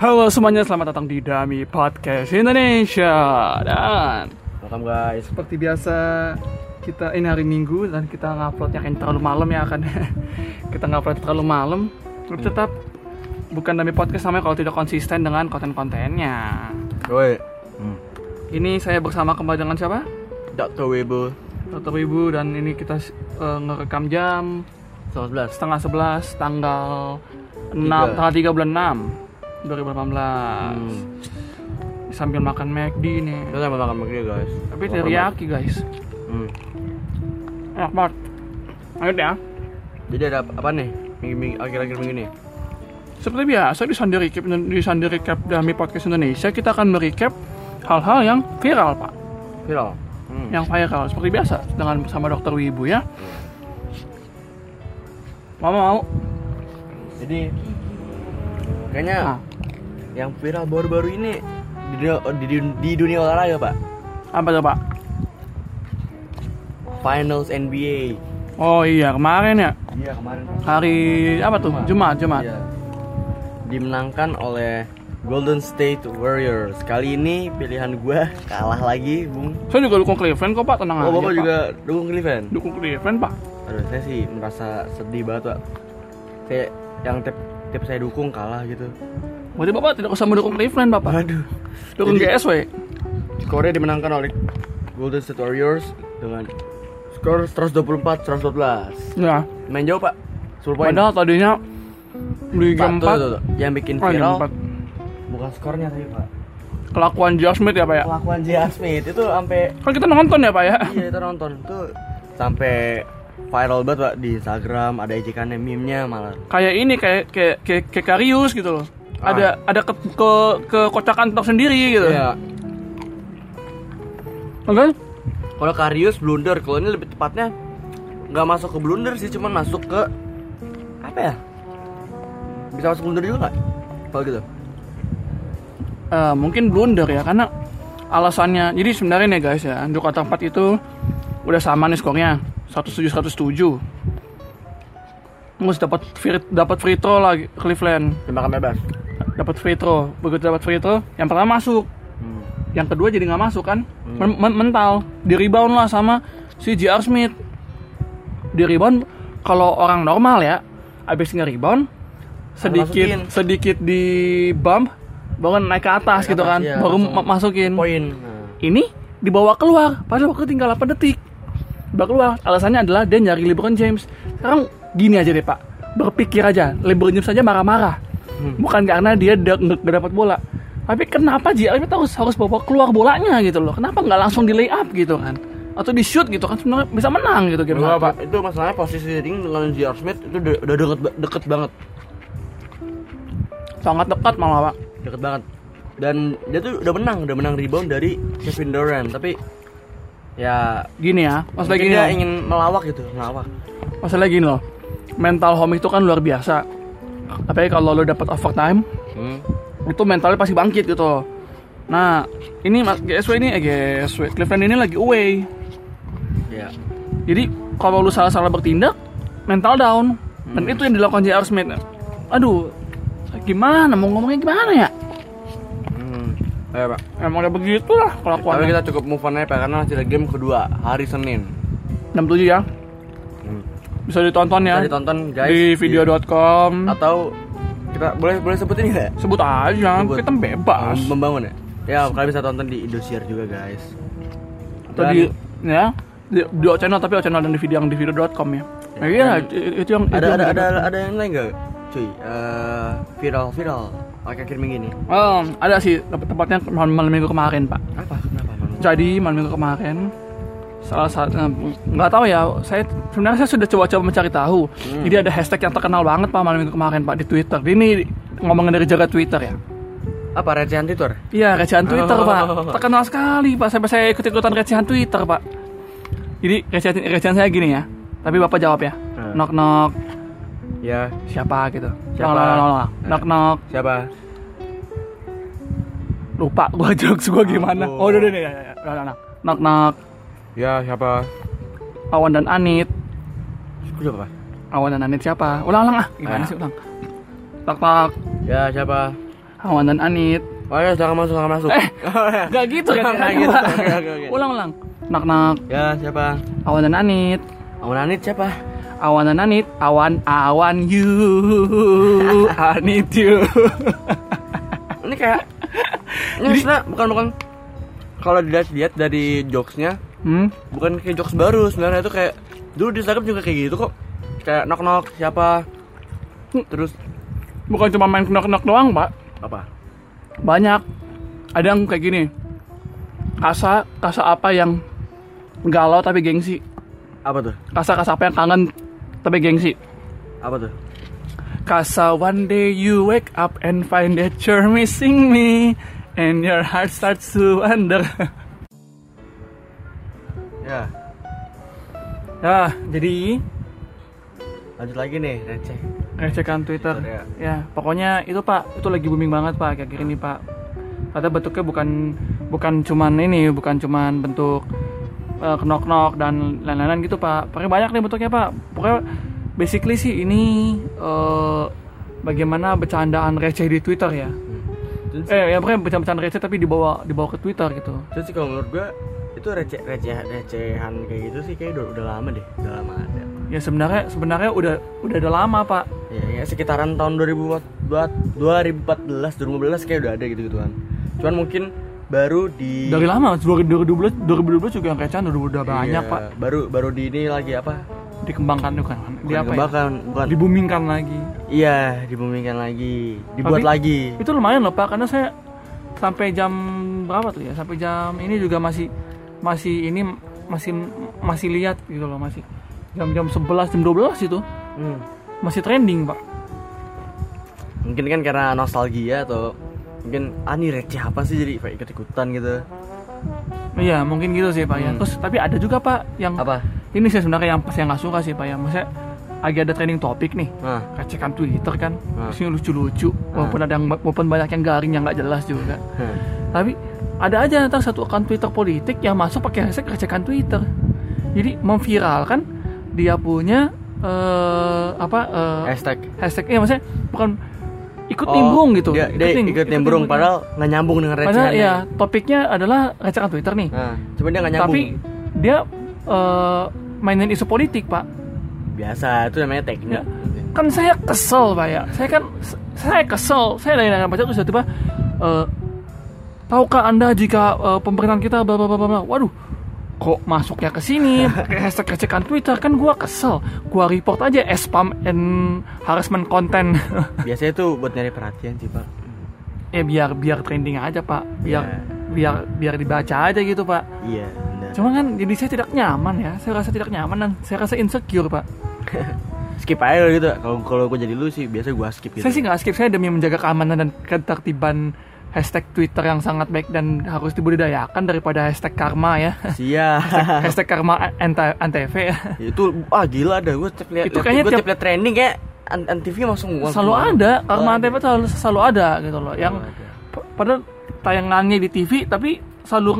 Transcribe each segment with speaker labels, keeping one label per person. Speaker 1: Halo semuanya, selamat datang di Dami Podcast Indonesia Dan
Speaker 2: Welcome guys.
Speaker 1: seperti biasa kita ini hari Minggu dan kita nguploadnya kan terlalu malam ya kan kita ngupload terlalu malam tapi tetap bukan Dami Podcast namanya kalau tidak konsisten dengan konten-kontennya
Speaker 2: Woi. Hmm.
Speaker 1: ini saya bersama kembali dengan siapa?
Speaker 2: Dr. Webo
Speaker 1: Dokter Ibu dan ini kita eh, ngerekam jam
Speaker 2: 11.
Speaker 1: setengah 11 tanggal 6
Speaker 2: Tiga.
Speaker 1: tanggal 3 bulan 6 2018
Speaker 2: Hmm.
Speaker 1: sambil makan McD nih
Speaker 2: Kita sama makan begini guys.
Speaker 1: tapi teriyaki guys
Speaker 2: Hmm.
Speaker 1: enak banget lanjut ya
Speaker 2: Jadi ada apa, apa nih? Minggu, minggu akhir-akhir minggu ini.
Speaker 1: seperti biasa di Sunday Recap di Sunday Recap Dami Podcast Indonesia kita akan merecap hal-hal yang viral pak
Speaker 2: Viral. Hmm.
Speaker 1: yang viral seperti biasa dengan bersama dokter Wibu ya mau mau
Speaker 2: Jadi kayaknya
Speaker 1: Ah,
Speaker 2: yang viral baru-baru ini di dunia, di, dun- di dunia olahraga, Pak.
Speaker 1: apa tuh pak
Speaker 2: Finals NBA.
Speaker 1: oh iya kemarin ya
Speaker 2: Iya, kemarin.
Speaker 1: hari apa tuh Jumat Jumat
Speaker 2: Iya. Dimenangkan oleh Golden State Warriors. Kali ini pilihan gua kalah lagi, Bung.
Speaker 1: saya juga dukung Cleveland kok pak tenang
Speaker 2: Oh,
Speaker 1: aja Ah, iya,
Speaker 2: Bapak
Speaker 1: Pak.
Speaker 2: juga dukung Cleveland?
Speaker 1: dukung Cleveland pak
Speaker 2: Aduh, saya sih merasa sedih banget, Pak. Kayak yang tiap, tiap saya dukung kalah gitu.
Speaker 1: berarti bapak tidak usah mendukung Cleveland bapak
Speaker 2: Aduh.
Speaker 1: dukung
Speaker 2: Jadi-
Speaker 1: GSW
Speaker 2: Skornya dimenangkan oleh Golden State Warriors dengan skor 124-112.
Speaker 1: ya
Speaker 2: Main jauh, Pak. 10 poin.
Speaker 1: padahal tadinya di
Speaker 2: Pak,
Speaker 1: game
Speaker 2: tuh,
Speaker 1: 4
Speaker 2: tuh, tuh. Yang bikin
Speaker 1: Oh, game
Speaker 2: viral
Speaker 1: empat.
Speaker 2: bukan skornya tapi, Pak.
Speaker 1: kelakuan Josh Smith ya pak ya
Speaker 2: Kelakuan J.R. Smith itu sampai
Speaker 1: kan kita nonton ya pak ya
Speaker 2: iya itu nonton tuh sampai viral banget, Pak, di Instagram, ada ejekannya meme-nya malah.
Speaker 1: kayak ini kayak kayak kayak, kayak Karius gitu loh
Speaker 2: Ah.
Speaker 1: ada ada ke ke kekocakan tersendiri gitu Nah,
Speaker 2: Iya.
Speaker 1: oke
Speaker 2: Kalau Karius blunder, kalau ini lebih tepatnya nggak masuk ke blunder sih, cuman masuk ke apa ya? Bisa masuk blunder juga nggak? Kalau gitu.
Speaker 1: Eh, mungkin blunder ya karena alasannya jadi sebenarnya nih guys ya untuk kata empat itu udah sama nih skornya 107 107 Terus dapat free, dapat free throw lagi Cleveland
Speaker 2: Tembakan bebas.
Speaker 1: dapat free throw begitu dapat free throw yang pertama masuk
Speaker 2: Hmm.
Speaker 1: yang kedua jadi nggak masuk kan Men- men- mental di rebound lah sama si JR Smith di rebound kalau orang normal ya abis nge-rebound sedikit
Speaker 2: Masukin.
Speaker 1: sedikit di bump baru naik ke atas
Speaker 2: Naik
Speaker 1: gitu
Speaker 2: atas,
Speaker 1: kan
Speaker 2: iya,
Speaker 1: baru
Speaker 2: langsung
Speaker 1: ma- masukin
Speaker 2: Poin.
Speaker 1: ini dibawa keluar padahal waktu tinggal 8 detik dibawa keluar alasannya adalah dia nyari LeBron James sekarang gini aja deh pak berpikir aja LeBron James aja marah-marah
Speaker 2: Hmm.
Speaker 1: bukan karena dia da- nggak nggak dapat bola tapi kenapa JR Smith harus harus bawa keluar bolanya gitu loh kenapa nggak langsung di lay up gitu kan atau di shoot gitu kan sebenarnya bisa menang gitu game
Speaker 2: Enggak,
Speaker 1: satu.
Speaker 2: Pak. Itu masalahnya posisi ring dengan J.R. Smith itu de- udah deket, ba- deket banget.
Speaker 1: sangat dekat malah pak
Speaker 2: Deket banget. Dan dia tuh udah menang, udah menang rebound dari Kevin Durant, tapi ya
Speaker 1: gini ya masalah
Speaker 2: mungkin
Speaker 1: gini
Speaker 2: dia
Speaker 1: loh.
Speaker 2: ingin melawak gitu, melawak.
Speaker 1: masalah gini loh mental home itu kan luar biasa tapi kalau lo dapat overtime
Speaker 2: Hmm.
Speaker 1: itu mentalnya pasti bangkit gitu. Nah, ini Mas GSW ini eh GSW Cleveland ini lagi away.
Speaker 2: Ya.
Speaker 1: Jadi kalau lu salah-salah bertindak, mental down. Dan
Speaker 2: Hmm.
Speaker 1: itu yang dilakukan JR Smith. Aduh, gimana mau ngomongnya gimana ya?
Speaker 2: Hmm. Ayo, Pak.
Speaker 1: Emang udah begitu lah
Speaker 2: Tapi
Speaker 1: kelakuannya.
Speaker 2: kita cukup move on aja Pak, karena masih ada game kedua hari Senin.
Speaker 1: 67 ya.
Speaker 2: Hmm. Iya.
Speaker 1: Bisa ditonton ya.
Speaker 2: Bisa ditonton guys Iya.
Speaker 1: di video.com.
Speaker 2: atau kita boleh boleh sebutin nggak?
Speaker 1: Sebut aja,
Speaker 2: Sebut.
Speaker 1: kita bebas.
Speaker 2: Mem- Membangun ya. Ya kalian bisa tonton di Indosiar juga guys.
Speaker 1: Atau di ya di, di O channel tapi O channel dan di video yang di video.com ya. Nah, iya, itu yang itu
Speaker 2: ada
Speaker 1: yang
Speaker 2: ada
Speaker 1: di-
Speaker 2: ada ada yang lain nggak? Cuy, Eh, viral viral akhir-akhir minggu ini.
Speaker 1: Oh, ada sih tempat tempatnya malam, malam minggu kemarin pak.
Speaker 2: Apa? Kenapa? Manu?
Speaker 1: Jadi malam minggu kemarin salah satu eh, nggak tahu ya. Saya sebenarnya saya sudah coba-coba mencari tahu.
Speaker 2: Hmm.
Speaker 1: Jadi ada hashtag yang terkenal banget pak malam minggu kemarin pak di Twitter. Ini ngomongin dari jaga Twitter ya.
Speaker 2: Apa recehan Twitter?
Speaker 1: Iya recehan Twitter
Speaker 2: Oh.
Speaker 1: pak. Terkenal sekali pak. Sampai saya ikut ikutan recehan Twitter pak. Jadi recehan, recehan saya gini ya. Tapi bapak jawab ya.
Speaker 2: Hmm.
Speaker 1: Knock knock
Speaker 2: Ya,
Speaker 1: siapa gitu.
Speaker 2: Siapa? Hmm.
Speaker 1: Knock knock, knock, knock. knock, knock.
Speaker 2: siapa?
Speaker 1: Lupa gua jokes gua gimana.
Speaker 2: Ampun.
Speaker 1: Oh udah udah udah, udah, udah, udah, udah. Knock knock.
Speaker 2: Ya, siapa?
Speaker 1: Awan dan Anit.
Speaker 2: Siapa, Pak?
Speaker 1: Awan dan Anit siapa? Ulang-ulang ah. Gimana
Speaker 2: Ah.
Speaker 1: sih ulang? Tak tak.
Speaker 2: Ya, siapa?
Speaker 1: Hawan dan Anit.
Speaker 2: Oh ya, silakan masuk, silakan masuk.
Speaker 1: Eh, Gak gitu kan?
Speaker 2: Nggak gitu. Oke, oke, oke.
Speaker 1: Ulang-ulang. Nak-nak.
Speaker 2: ya, siapa?
Speaker 1: Awan dan Anit.
Speaker 2: Awan Anit siapa?
Speaker 1: Awan dan Anit. Awan, awan you. Anit you.
Speaker 2: Ini kayak ini maksudnya bukan bukan kalau dilihat-lihat dari jokesnya
Speaker 1: hmm?
Speaker 2: bukan kayak jokes baru sebenarnya itu kayak dulu di Instagram juga kayak gitu kok kayak knock knock siapa terus
Speaker 1: Bukan cuma main knock-knock doang, Pak.
Speaker 2: apa
Speaker 1: Banyak. Ada yang kayak gini. Kasa, kasa apa yang galau tapi gengsi.
Speaker 2: apa tuh
Speaker 1: Kasa, kasa apa yang kangen tapi gengsi.
Speaker 2: apa tuh
Speaker 1: Kasa one day you wake up and find that you're missing me and your heart starts to wonder.
Speaker 2: ya
Speaker 1: nah, jadi
Speaker 2: lanjut lagi nih receh
Speaker 1: ngecekan Twitter.
Speaker 2: Twitter,
Speaker 1: Ya, pokoknya itu Pak, itu lagi booming banget Pak akhir-akhir ini Pak. Kata bentuknya bukan bukan cuman ini, bukan cuman bentuk eh, knock-knock dan lain-lain gitu Pak. Pokoknya banyak nih bentuknya Pak. Pokoknya basically sih ini eh, bagaimana bercandaan receh di Twitter ya.
Speaker 2: Terus-
Speaker 1: Eh, ya pokoknya bercanda-bercanda receh tapi dibawa dibawa ke Twitter gitu.
Speaker 2: Terus sih kalau menurut gua itu receh receh recehan kayak gitu sih kayak udah, udah lama deh, udah lama ada.
Speaker 1: Ya sebenarnya sebenarnya udah udah ada lama Pak.
Speaker 2: Ya, ya sekitaran tahun 2014, 2014, 2015 kayak udah ada gitu gituan. Cuman mungkin baru di
Speaker 1: Dari lama 2012 2012 juga yang recehan udah udah banyak
Speaker 2: Iya,
Speaker 1: Pak
Speaker 2: Baru baru di ini lagi apa?
Speaker 1: dikembangkan bukan? Di apa ya?
Speaker 2: Dikembangkan, bukan.
Speaker 1: dibumingkan lagi
Speaker 2: Iya, dibumikan lagi, dibuat
Speaker 1: Tapi-
Speaker 2: lagi.
Speaker 1: itu lumayan loh pak karena saya sampai jam berapa tuh ya sampai jam ini juga masih masih ini masih masih lihat gitu loh masih jam-jam 11 jam 12 itu
Speaker 2: Hmm.
Speaker 1: masih trending pak
Speaker 2: Mungkin kan karena nostalgia atau mungkin ah ini receh apa sih jadi kayak ikut-ikutan gitu.
Speaker 1: iya mungkin gitu sih pak ya
Speaker 2: Hmm.
Speaker 1: terus tapi ada juga pak yang
Speaker 2: Apa?
Speaker 1: ini saya sebenarnya yang saya nggak suka sih pak ya maksudnya agak ada trending topik nih
Speaker 2: Nah,
Speaker 1: recekan Twitter kan
Speaker 2: Hmm.
Speaker 1: isinya lucu-lucu
Speaker 2: Ah.
Speaker 1: walaupun ada yang walaupun banyak yang garing yang nggak jelas juga
Speaker 2: hmm.
Speaker 1: Tapi ada aja ntar satu akun Twitter politik yang masuk pakai hashtag recekan Twitter. Jadi memviralkan dia punya eh, apa eh,
Speaker 2: hashtag
Speaker 1: hashtagnya maksudnya bukan ikut
Speaker 2: Oh,
Speaker 1: nimbrung gitu.
Speaker 2: Dia, dia
Speaker 1: nim-
Speaker 2: ikut nimbrung padahal nggak nyambung dengan recehan.
Speaker 1: padahal ya topiknya adalah recekan Twitter nih.
Speaker 2: Nah, cuma dia nggak nyambung.
Speaker 1: Tapi dia eh, mainin isu politik, Pak.
Speaker 2: biasa itu namanya
Speaker 1: Ya.
Speaker 2: teknik.
Speaker 1: Kan saya kesel, Pak ya. Saya kan saya kesel. Saya dari dengan pacar terus tiba-tiba eh, tahukah Anda jika eh, pemerintahan kita bla bla bla bla, bla. Waduh. Kok masuknya ke sini? Pakai hashtag recekan Twitter kan gua kesel. Gua report aja eh, spam and harassment content.
Speaker 2: Biasanya itu buat nyari perhatian sih, Pak.
Speaker 1: ya biar biar trending aja, Pak. Biar
Speaker 2: Ya.
Speaker 1: biar biar dibaca aja gitu, Pak.
Speaker 2: Iya, benar.
Speaker 1: Cuma kan jadi saya tidak nyaman ya. Saya rasa tidak nyaman dan saya rasa insecure, Pak.
Speaker 2: skip aja gitu. Kalau kalau gue jadi lu sih biasanya gue skip gitu.
Speaker 1: Saya sih nggak skip saya demi menjaga keamanan dan ketertiban hashtag Twitter yang sangat baik dan harus dibudidayakan daripada hashtag karma ya.
Speaker 2: Siap.
Speaker 1: hashtag karma anta- antv ya.
Speaker 2: itu ah gila ada gue tiap lihat
Speaker 1: Itu kayaknya
Speaker 2: gue
Speaker 1: tiap-
Speaker 2: tiap lihat trending kayak an, an TV langsung gua-
Speaker 1: Selalu
Speaker 2: gua-
Speaker 1: ada
Speaker 2: gua-
Speaker 1: karma antv tuh selalu, selalu ada gitu loh. Yang
Speaker 2: ada.
Speaker 1: p- padahal tayangannya di TV tapi selalu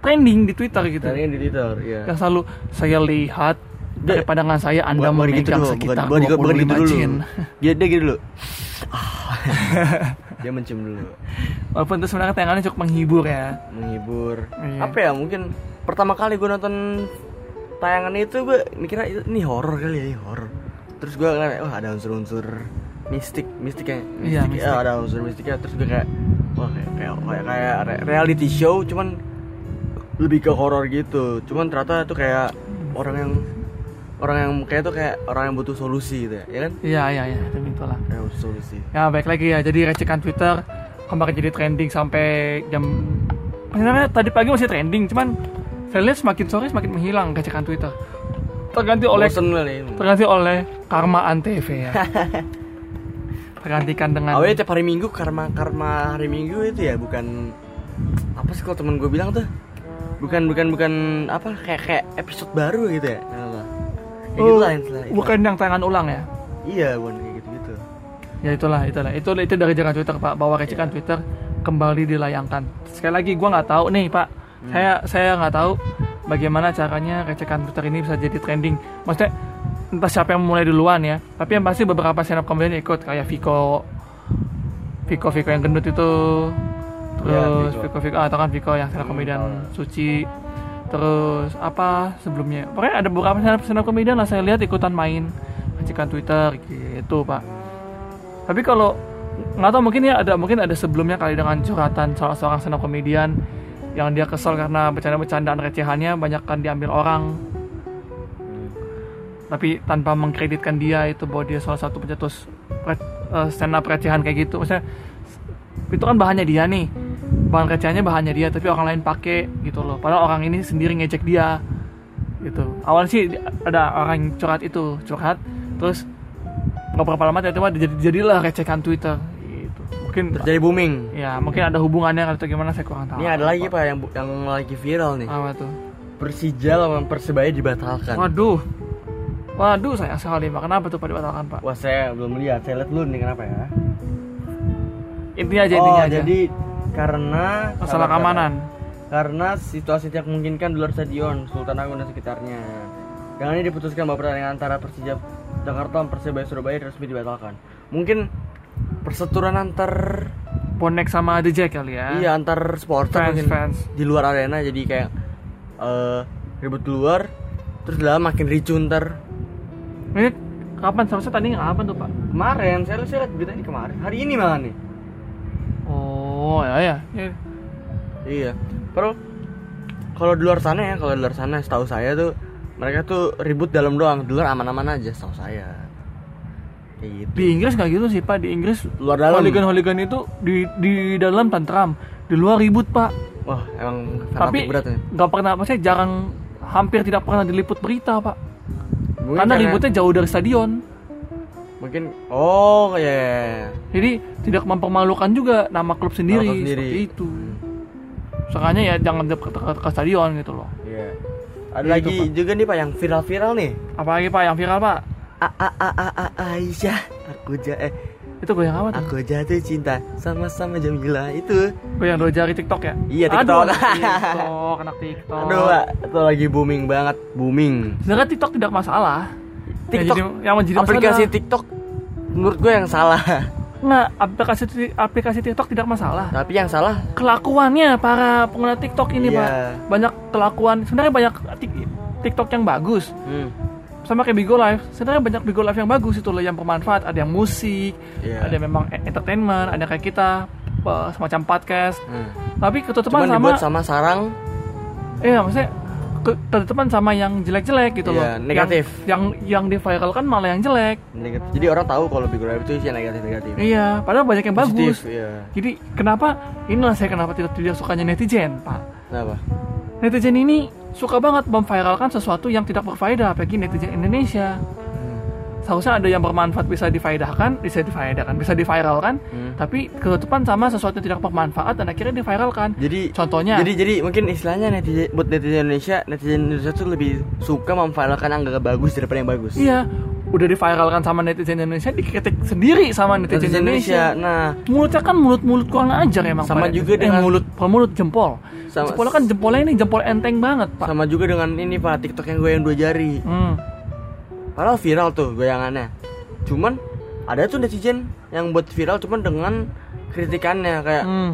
Speaker 1: trending di Twitter gitu.
Speaker 2: trending di Twitter, iya.
Speaker 1: Yang selalu saya lihat
Speaker 2: Dia-
Speaker 1: dari pandangan saya Anda
Speaker 2: Bukan- bukan gitu
Speaker 1: memegang
Speaker 2: dulu,
Speaker 1: sekitar
Speaker 2: bukan- bukan- bukan
Speaker 1: 25
Speaker 2: gitu dulu.
Speaker 1: jin.
Speaker 2: Dia dia gitu dulu. Ah. dia mencium dulu.
Speaker 1: Walaupun itu sebenarnya tayangannya cukup menghibur ya.
Speaker 2: menghibur
Speaker 1: Iya.
Speaker 2: apa ya mungkin pertama kali gue nonton tayangan itu gue mikirnya itu- ini horor kali ya ini horor terus gue ngeliat wah ada unsur-unsur mistik mistik ya
Speaker 1: Iya,
Speaker 2: mistik, ya,
Speaker 1: mistik.
Speaker 2: ada unsur mistiknya terus gue kayak wah kayak kayak, kayak, kayak re- reality show cuman lebih ke horor gitu cuman ternyata itu kayak orang yang orang yang kayak tuh kayak orang yang butuh solusi gitu ya, ya kan
Speaker 1: Iya iya iya, itu itulah.
Speaker 2: Kayak butuh solusi
Speaker 1: Ya baik lagi ya, jadi recekan Twitter kemarin jadi trending sampai jam Sebenarnya tadi pagi masih trending, cuman saya lihat semakin sore semakin menghilang recekan Twitter Terganti oleh
Speaker 2: Bosen kali
Speaker 1: terganti oleh Karma Antv ya Tergantikan dengan
Speaker 2: Awalnya tiap hari Minggu karma karma hari Minggu itu ya bukan apa sih kalau temen gue bilang tuh bukan bukan bukan apa kayak kayak episode baru gitu ya. Apa? Ya gitu
Speaker 1: Oh,
Speaker 2: lah, gitu lah, gitu lah.
Speaker 1: Bukan yang tangan ulang ya
Speaker 2: Iya bukan kayak gitu gitu.
Speaker 1: Ya itulah, itulah Itu itu dari jalan Twitter Pak, bahwa recekan Twitter kembali dilayangkan Sekali lagi gua nggak tahu nih Pak Saya saya nggak tahu bagaimana caranya recekan Twitter ini bisa jadi trending Maksudnya entah siapa yang mulai duluan ya Tapi yang pasti beberapa stand up comedian ikut Kayak Viko Viko Viko yang gendut itu
Speaker 2: Iya,
Speaker 1: terus
Speaker 2: Viko.
Speaker 1: Viko Viko ah, atau kan Viko yang stand up comedian
Speaker 2: tahu.
Speaker 1: suci terus apa sebelumnya pokoknya ada beberapa stand up, stand up comedian lah saya lihat ikutan main ngecekkan Twitter gitu pak tapi kalau nggak tahu mungkin ya ada mungkin ada sebelumnya kali dengan curhatan salah seorang stand up comedian yang dia kesel karena bercanda-bercandaan recehannya banyak kan diambil orang tapi tanpa mengkreditkan dia itu bahwa dia salah satu pencetus re- eh, stand up recehan kayak gitu maksudnya s- itu kan bahannya dia nih bahan recehannya bahannya dia tapi orang lain pakai gitu loh padahal orang ini sendiri ngecek dia gitu awalnya sih ada orang yang curhat itu curhat terus nggak berapa lama tiba-tiba jadi- jadilah recehan Twitter gitu mungkin
Speaker 2: terjadi booming
Speaker 1: ya mungkin ada hubungannya atau gimana saya kurang tahu
Speaker 2: ini ada lagi pak yang bu- yang lagi viral nih
Speaker 1: apa tuh
Speaker 2: Persija lawan Persebaya dibatalkan
Speaker 1: waduh waduh sayang sekali pak kenapa tuh pak dibatalkan pak
Speaker 2: wah saya belum lihat saya lihat dulu nih kenapa ya
Speaker 1: intinya aja intinya
Speaker 2: oh
Speaker 1: aja
Speaker 2: jadi karena
Speaker 1: masalah keamanan
Speaker 2: karena situasi tidak memungkinkan di luar stadion Sultan Agung dan sekitarnya. Dengan ini diputuskan bahwa pertandingan antara Persija Jakarta dan Persebaya Surabaya resmi dibatalkan. Mungkin perseturuan antar
Speaker 1: bonek sama The Jack kali ya
Speaker 2: iya antar supporter
Speaker 1: fans
Speaker 2: mungkin
Speaker 1: fans
Speaker 2: di luar arena jadi kayak eh, ribut di luar terus dalam makin ricu ntar
Speaker 1: ini kapan seharusnya tanding kapan tuh pak
Speaker 2: kemarin saya lihat- saya lihat berita ini kemarin hari ini malah nih
Speaker 1: oh ya ya, ya.
Speaker 2: Iya. Pero kalau di luar sana ya, kalau di luar sana setahu saya tuh mereka tuh ribut dalam doang, di luar aman-aman aja setahu saya. Kayak gitu.
Speaker 1: di Inggris nggak gitu sih pak di Inggris
Speaker 2: Luar dalam.
Speaker 1: hooligan hooligan itu di di dalam tantram di luar ribut pak
Speaker 2: Wah, emang
Speaker 1: tapi
Speaker 2: fanatik berat ya.
Speaker 1: nggak pernah maksudnya jarang hampir tidak pernah diliput berita pak
Speaker 2: Mungkin
Speaker 1: karena ributnya jauh dari stadion
Speaker 2: mungkin oh ya. ya, ya.
Speaker 1: jadi tidak mempermalukan juga nama klub sendiri,
Speaker 2: klub sendiri.
Speaker 1: seperti itu Makanya ya jangan ke, ke, ke stadion gitu loh
Speaker 2: Iya. Ada
Speaker 1: Gitu,
Speaker 2: lagi juga nih Pak yang viral-viral nih.
Speaker 1: apalagi pak yang viral pak
Speaker 2: A a a a a Aisyah, aku ja eh
Speaker 1: itu gue yang apa tuh
Speaker 2: aku jatuh cinta sama-sama Jamila itu.
Speaker 1: Gue yang dua jari TikTok ya?
Speaker 2: Iya,
Speaker 1: Aduh,
Speaker 2: TikTok.
Speaker 1: anak TikTok, anak TikTok.
Speaker 2: Aduh, Pak, itu lagi booming banget, booming.
Speaker 1: Sebenarnya TikTok tidak masalah. Yang
Speaker 2: TikTok
Speaker 1: jadi- yang menjadi masalah
Speaker 2: aplikasi
Speaker 1: adalah-
Speaker 2: TikTok menurut gue yang salah
Speaker 1: Nggak, aplikasi ti- aplikasi TikTok tidak masalah.
Speaker 2: tapi yang salah
Speaker 1: Kelakuannya para pengguna TikTok ini,
Speaker 2: Iya.
Speaker 1: Pak. Banyak kelakuan. Sebenarnya banyak tik- TikTok yang bagus. Sama kayak Bigo Live. Sebenarnya banyak Bigo Live yang bagus itu loh yang bermanfaat. Ada yang musik,
Speaker 2: Iya.
Speaker 1: ada yang memang e- entertainment, ada kayak kita eh, semacam podcast.
Speaker 2: Hmm.
Speaker 1: Tapi
Speaker 2: cuman
Speaker 1: ketutupan
Speaker 2: dibuat
Speaker 1: sama,
Speaker 2: sama sarang
Speaker 1: iya maksudnya ke- ketutupan sama yang jelek-jelek gitu
Speaker 2: Iya,
Speaker 1: loh.
Speaker 2: negatif.
Speaker 1: Yang yang, yang diviralkan malah yang jelek.
Speaker 2: negatif jadi orang tahu kalau Big Brother itu isinya negatif negatif
Speaker 1: Iya, padahal banyak yang
Speaker 2: Positif,
Speaker 1: bagus.
Speaker 2: iya.
Speaker 1: Jadi kenapa inilah saya kenapa tidak tidak sukanya netizen, Pak.
Speaker 2: kenapa
Speaker 1: Netizen ini suka banget memviralkan sesuatu yang tidak berfaedah bagi netizen Indonesia.
Speaker 2: Hmm.
Speaker 1: Seharusnya ada yang bermanfaat bisa difaedahkan, bisa difaedahkan, bisa diviralkan,
Speaker 2: Hmm.
Speaker 1: tapi ketutupan sama sesuatu yang tidak bermanfaat dan akhirnya diviralkan.
Speaker 2: jadi
Speaker 1: Contohnya,
Speaker 2: jadi jadi mungkin istilahnya netizen buat netizen Indonesia netizen Indonesia tuh lebih suka memviralkan yang gak bagus daripada yang bagus
Speaker 1: iya, udah diviralkan sama netizen Indonesia, dikritik sendiri sama netizen,
Speaker 2: netizen
Speaker 1: Indonesia.
Speaker 2: Indonesia nah
Speaker 1: mulutnya kan mulut-mulut kurang ajar emang
Speaker 2: Sama
Speaker 1: Pak.
Speaker 2: juga
Speaker 1: Eh,
Speaker 2: dengan-
Speaker 1: mulut pemulut jempol
Speaker 2: Sama-
Speaker 1: jempolnya kan jempolnya ini jempol enteng banget pak
Speaker 2: sama juga dengan ini pak TikTok yang gue yang dua jari
Speaker 1: hmm.
Speaker 2: Padahal viral tuh goyangannya. Cuman ada tuh netizen yang buat viral cuman dengan kritikannya kayak
Speaker 1: hmm.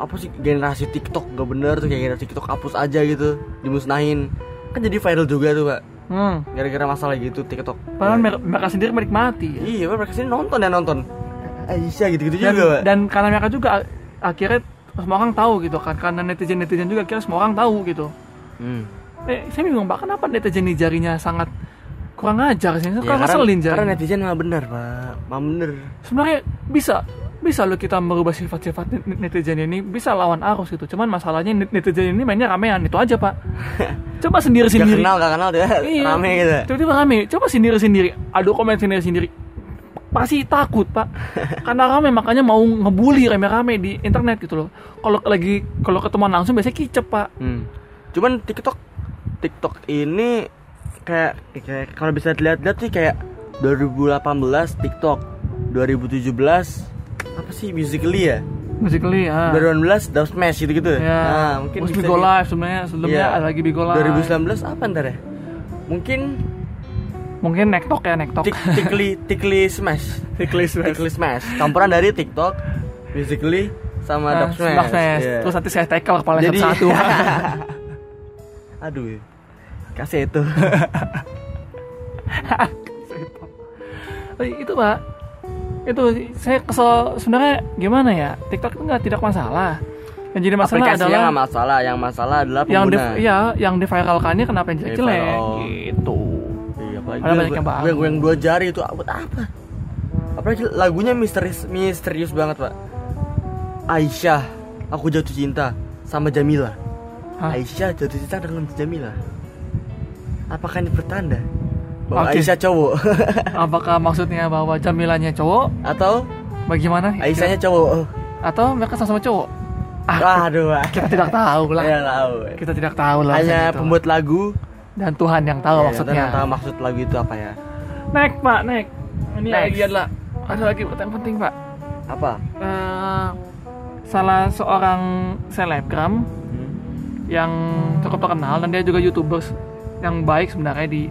Speaker 2: apa sih generasi TikTok gak bener tuh kayak generasi TikTok hapus aja gitu dimusnahin kan jadi viral juga tuh pak
Speaker 1: hmm.
Speaker 2: gara-gara masalah gitu TikTok
Speaker 1: padahal mer- mereka sendiri menikmati ya.
Speaker 2: iya pak mereka sini nonton ya nonton Aisyah gitu-gitu
Speaker 1: dan,
Speaker 2: Iya juga pak
Speaker 1: dan karena mereka juga a- akhirnya semua orang tahu gitu kan karena netizen netizen juga akhirnya semua orang tahu gitu
Speaker 2: hmm.
Speaker 1: eh saya bingung pak kenapa netizen ini jarinya sangat kurang ajar sih
Speaker 2: Ya,
Speaker 1: kurang ngeselin
Speaker 2: karena
Speaker 1: jarinya
Speaker 2: netizen mah bener pak mah bener
Speaker 1: sebenarnya bisa bisa loh kita merubah sifat-sifat net- netizen ini bisa lawan arus gitu cuman masalahnya net- netizen ini mainnya ramean itu aja pak coba sendiri Iya.
Speaker 2: gak
Speaker 1: sendiri
Speaker 2: kenal gak kenal dia rame gitu
Speaker 1: tiba-tiba rame coba sendiri sendiri adu komen sendiri sendiri pasti takut pak karena rame makanya mau ngebully rame-rame di internet gitu loh kalau lagi kalau ketemuan langsung biasanya kicep pak
Speaker 2: Hmm. Cuman TikTok TikTok ini kayak kayak kalau bisa dilihat-lihat sih kayak 2018 TikTok, 2017 apa sih musically ya?
Speaker 1: musically ya
Speaker 2: 2018 Dub Smash gitu-gitu.
Speaker 1: ya
Speaker 2: Nah,
Speaker 1: mungkin
Speaker 2: mungkin
Speaker 1: terus
Speaker 2: bisa
Speaker 1: Bigo
Speaker 2: di-
Speaker 1: Live sebenarnya sebelumnya
Speaker 2: Iya.
Speaker 1: ada lagi Bigo Live
Speaker 2: 2019 apa ntar ya? Mungkin
Speaker 1: mungkin nektok ya nektok
Speaker 2: tik, tikli tikli smash.
Speaker 1: Tiklis
Speaker 2: Tikli smash. Campuran dari TikTok, Basically sama
Speaker 1: Nah,
Speaker 2: Dark Smash.
Speaker 1: Dark Smash.
Speaker 2: Iya.
Speaker 1: Terus nanti saya tackle kepala
Speaker 2: Jadi-
Speaker 1: satu-satu.
Speaker 2: Aduh. Kasih itu.
Speaker 1: Tapi Iya. itu pak, itu saya kesel sebenarnya gimana ya? TikTok itu nggak tidak masalah. Yang jadi masalah
Speaker 2: Aplikasinya
Speaker 1: adalah
Speaker 2: nggak masalah, yang masalah adalah
Speaker 1: yang
Speaker 2: pengguna. Iya,
Speaker 1: di, ya yang diviralkannya kenapa yang jelek-jelek
Speaker 2: Viral.
Speaker 1: gitu.
Speaker 2: Iya, apalagi
Speaker 1: Padahal
Speaker 2: gue-
Speaker 1: banyak yang
Speaker 2: gue-
Speaker 1: paham.
Speaker 2: Gue yang dua jari itu buat apa? Apalagi lagunya misterius misterius banget, Pak. Aisyah, aku jatuh cinta sama Jamila.
Speaker 1: Hah?
Speaker 2: Aisyah jatuh cinta dengan Jamila. Apakah ini pertanda bahwa
Speaker 1: Oke.
Speaker 2: Aisyah cowok
Speaker 1: Apakah maksudnya bahwa Jamilanya cowok?
Speaker 2: atau
Speaker 1: Bagaimana?
Speaker 2: Aisyahnya
Speaker 1: Ah.
Speaker 2: cowok?
Speaker 1: Atau mereka sama-sama cowok? Ah,
Speaker 2: Waduh, Pak.
Speaker 1: kita tidak tahu lah.
Speaker 2: Ya, tahu.
Speaker 1: Kita tidak tahu lah.
Speaker 2: Hanya
Speaker 1: gitu.
Speaker 2: pembuat lagu
Speaker 1: dan Tuhan yang tahu
Speaker 2: ya,
Speaker 1: maksudnya.
Speaker 2: ternyata maksud lagu itu apa ya?
Speaker 1: Naik pak, naik. Ini
Speaker 2: Next.
Speaker 1: lagi adalah ada lagi pertanyaan penting pak.
Speaker 2: Apa?
Speaker 1: Eh, salah seorang selebgram yang cukup terkenal dan dia juga youtubers yang baik sebenarnya di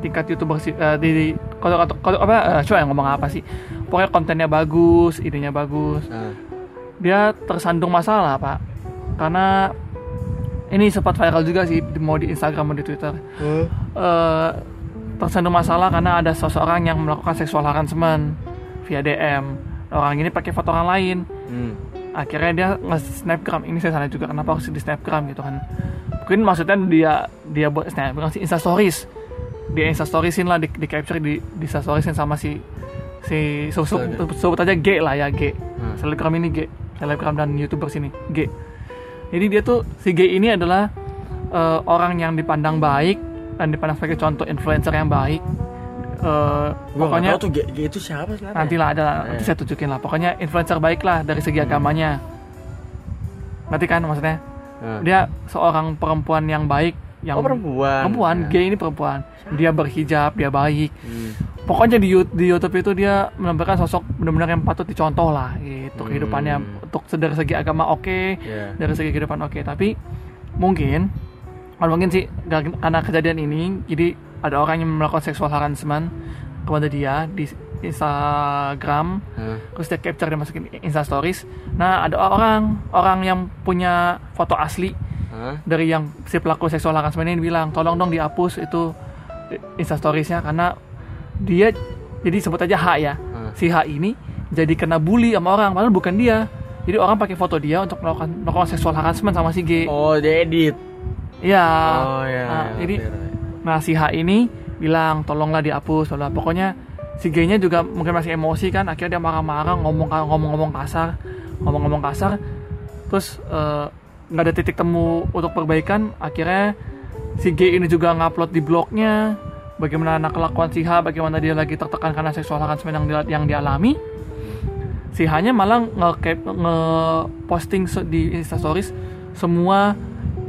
Speaker 1: tingkat youtuber si- eh, di di- kalau kalau- kalau apa eh, coba yang ngomong apa sih pokoknya kontennya bagus idenya bagus
Speaker 2: Nah,
Speaker 1: dia tersandung masalah pak karena ini sempat viral juga sih mau di Instagram mau di Twitter eh, tersandung masalah karena ada seseorang yang melakukan seksual harassment via DM. Orang ini pakai foto orang lain.
Speaker 2: Hmm.
Speaker 1: Akhirnya dia nge-snapgram. Ini saya salah juga kenapa harus di snapgram gitu kan. Mungkin maksudnya dia dia buat snapgram si Insta stories. Dia Insta storiesin lah di, di capture di, di Insta storiesin sama si si so, so,
Speaker 2: Selebgram.
Speaker 1: sebut aja G lah ya G.
Speaker 2: Hmm.
Speaker 1: Selebgram ini G. Selebgram dan YouTuber sini G. Jadi dia tuh si G ini adalah eh, orang yang dipandang baik dan dipandang sebagai contoh influencer yang baik. Eh,
Speaker 2: Gua nggak
Speaker 1: pokoknya
Speaker 2: tahu tuh G- G itu siapa sih?
Speaker 1: nanti lah ada nanti
Speaker 2: Eh.
Speaker 1: saya tunjukin lah. Pokoknya influencer baik lah dari segi
Speaker 2: Hmm.
Speaker 1: agamanya. Berarti kan maksudnya
Speaker 2: Nah.
Speaker 1: dia seorang perempuan yang baik yang
Speaker 2: oh perempuan.
Speaker 1: perempuan
Speaker 2: Ya.
Speaker 1: gay ini perempuan. Dia berhijab, dia baik.
Speaker 2: Hmm.
Speaker 1: Pokoknya di, Yout- di YouTube itu dia menampilkan sosok benar-benar yang patut dicontoh lah gitu
Speaker 2: Hmm.
Speaker 1: kehidupannya untuk dari segi agama oke,
Speaker 2: Ya.
Speaker 1: dari segi kehidupan oke tapi mungkin kalau mungkin sih gak- karena kejadian ini jadi ada orang yang melakukan seksual harassment kepada dia di Instagram
Speaker 2: Hah.
Speaker 1: terus dia capture dia masukin Insta Stories nah ada orang orang yang punya foto asli
Speaker 2: Hah?
Speaker 1: dari yang si pelaku seksual harassment ini bilang tolong dong dihapus itu Insta Storiesnya karena dia jadi sebut aja H ya
Speaker 2: Hmm.
Speaker 1: si H ini jadi kena bully sama orang padahal bukan dia jadi orang pakai foto dia untuk melakukan melakukan seksual harassment sama si G
Speaker 2: Oh, dia edit.
Speaker 1: Iya.
Speaker 2: oh ya.
Speaker 1: Nah,
Speaker 2: ya,
Speaker 1: jadi
Speaker 2: oke, oke.
Speaker 1: nah si H ini bilang tolonglah dihapus bla bla. pokoknya si G-nya juga mungkin masih emosi kan akhirnya dia marah-marah ngomong ngomong-ngomong kasar ngomong-ngomong kasar terus eh, nggak ada titik temu untuk perbaikan akhirnya si G ini juga ngupload di blognya bagaimana anak kelakuan si H bagaimana dia lagi tertekan karena seksual harassment yang, dia- yang dialami si H-nya malah nge-cap- nge-posting se- di instastories semua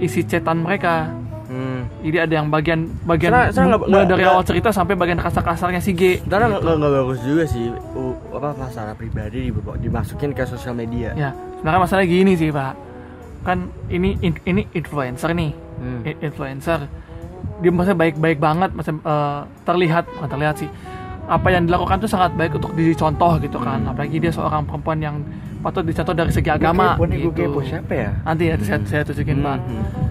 Speaker 1: isi cetan mereka
Speaker 2: Hmm.
Speaker 1: jadi ada yang bagian bagian
Speaker 2: Sekarang- sekarang nggak-
Speaker 1: mulai
Speaker 2: nggak-
Speaker 1: dari
Speaker 2: nggak-
Speaker 1: awal cerita sampai bagian kasar-kasarnya si G.
Speaker 2: Sebenarnya nggak-
Speaker 1: Gitu.
Speaker 2: nggak nggak bagus juga sih u- apa masalah pribadi dibawa- dimasukin ke sosial media.
Speaker 1: Ya, sebenarnya masalah gini sih pak. Kan ini in- ini influencer nih,
Speaker 2: Hmm.
Speaker 1: I- influencer. Dia maksudnya baik-baik banget, maksudnya eh, terlihat bukan terlihat sih. Apa yang dilakukan tuh sangat baik untuk dicontoh gitu kan. Apalagi dia seorang perempuan yang patut dicontoh dari segi agama.
Speaker 2: Gue kepo nih, gue
Speaker 1: gitu.
Speaker 2: kepo. siapa ya?
Speaker 1: Nanti ya saya, saya tunjukin
Speaker 2: Hmm,
Speaker 1: pak.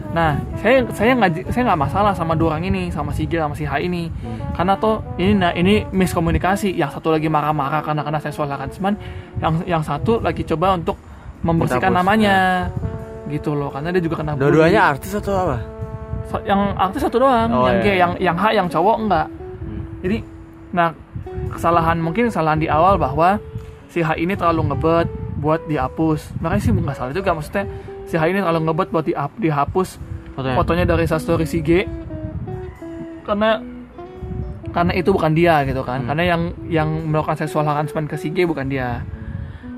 Speaker 1: Nah, saya saya nggak saya nggak masalah sama dua orang ini, sama si G sama si H ini. Karena tuh ini nah ini miskomunikasi. Yang satu lagi marah-marah karena karena seksual harassment, yang yang satu lagi coba untuk membersihkan
Speaker 2: Menghapus, ya.
Speaker 1: namanya. Gitu loh, karena dia juga kena bully.
Speaker 2: Dua-duanya artis atau apa?
Speaker 1: So- yang artis satu doang,
Speaker 2: Oh,
Speaker 1: yang G,
Speaker 2: iya, iya.
Speaker 1: yang yang H, yang cowok enggak.
Speaker 2: Hmm.
Speaker 1: Jadi nah kesalahan mungkin kesalahan di awal bahwa si H ini terlalu ngebet buat dihapus. Makanya sih nggak salah juga maksudnya si H ini terlalu ngebet buat dihap- dihapus
Speaker 2: Hmm.
Speaker 1: fotonya dari Sastori si G karena karena itu bukan dia gitu kan
Speaker 2: Hmm.
Speaker 1: karena yang yang melakukan seksual harassment ke si G bukan dia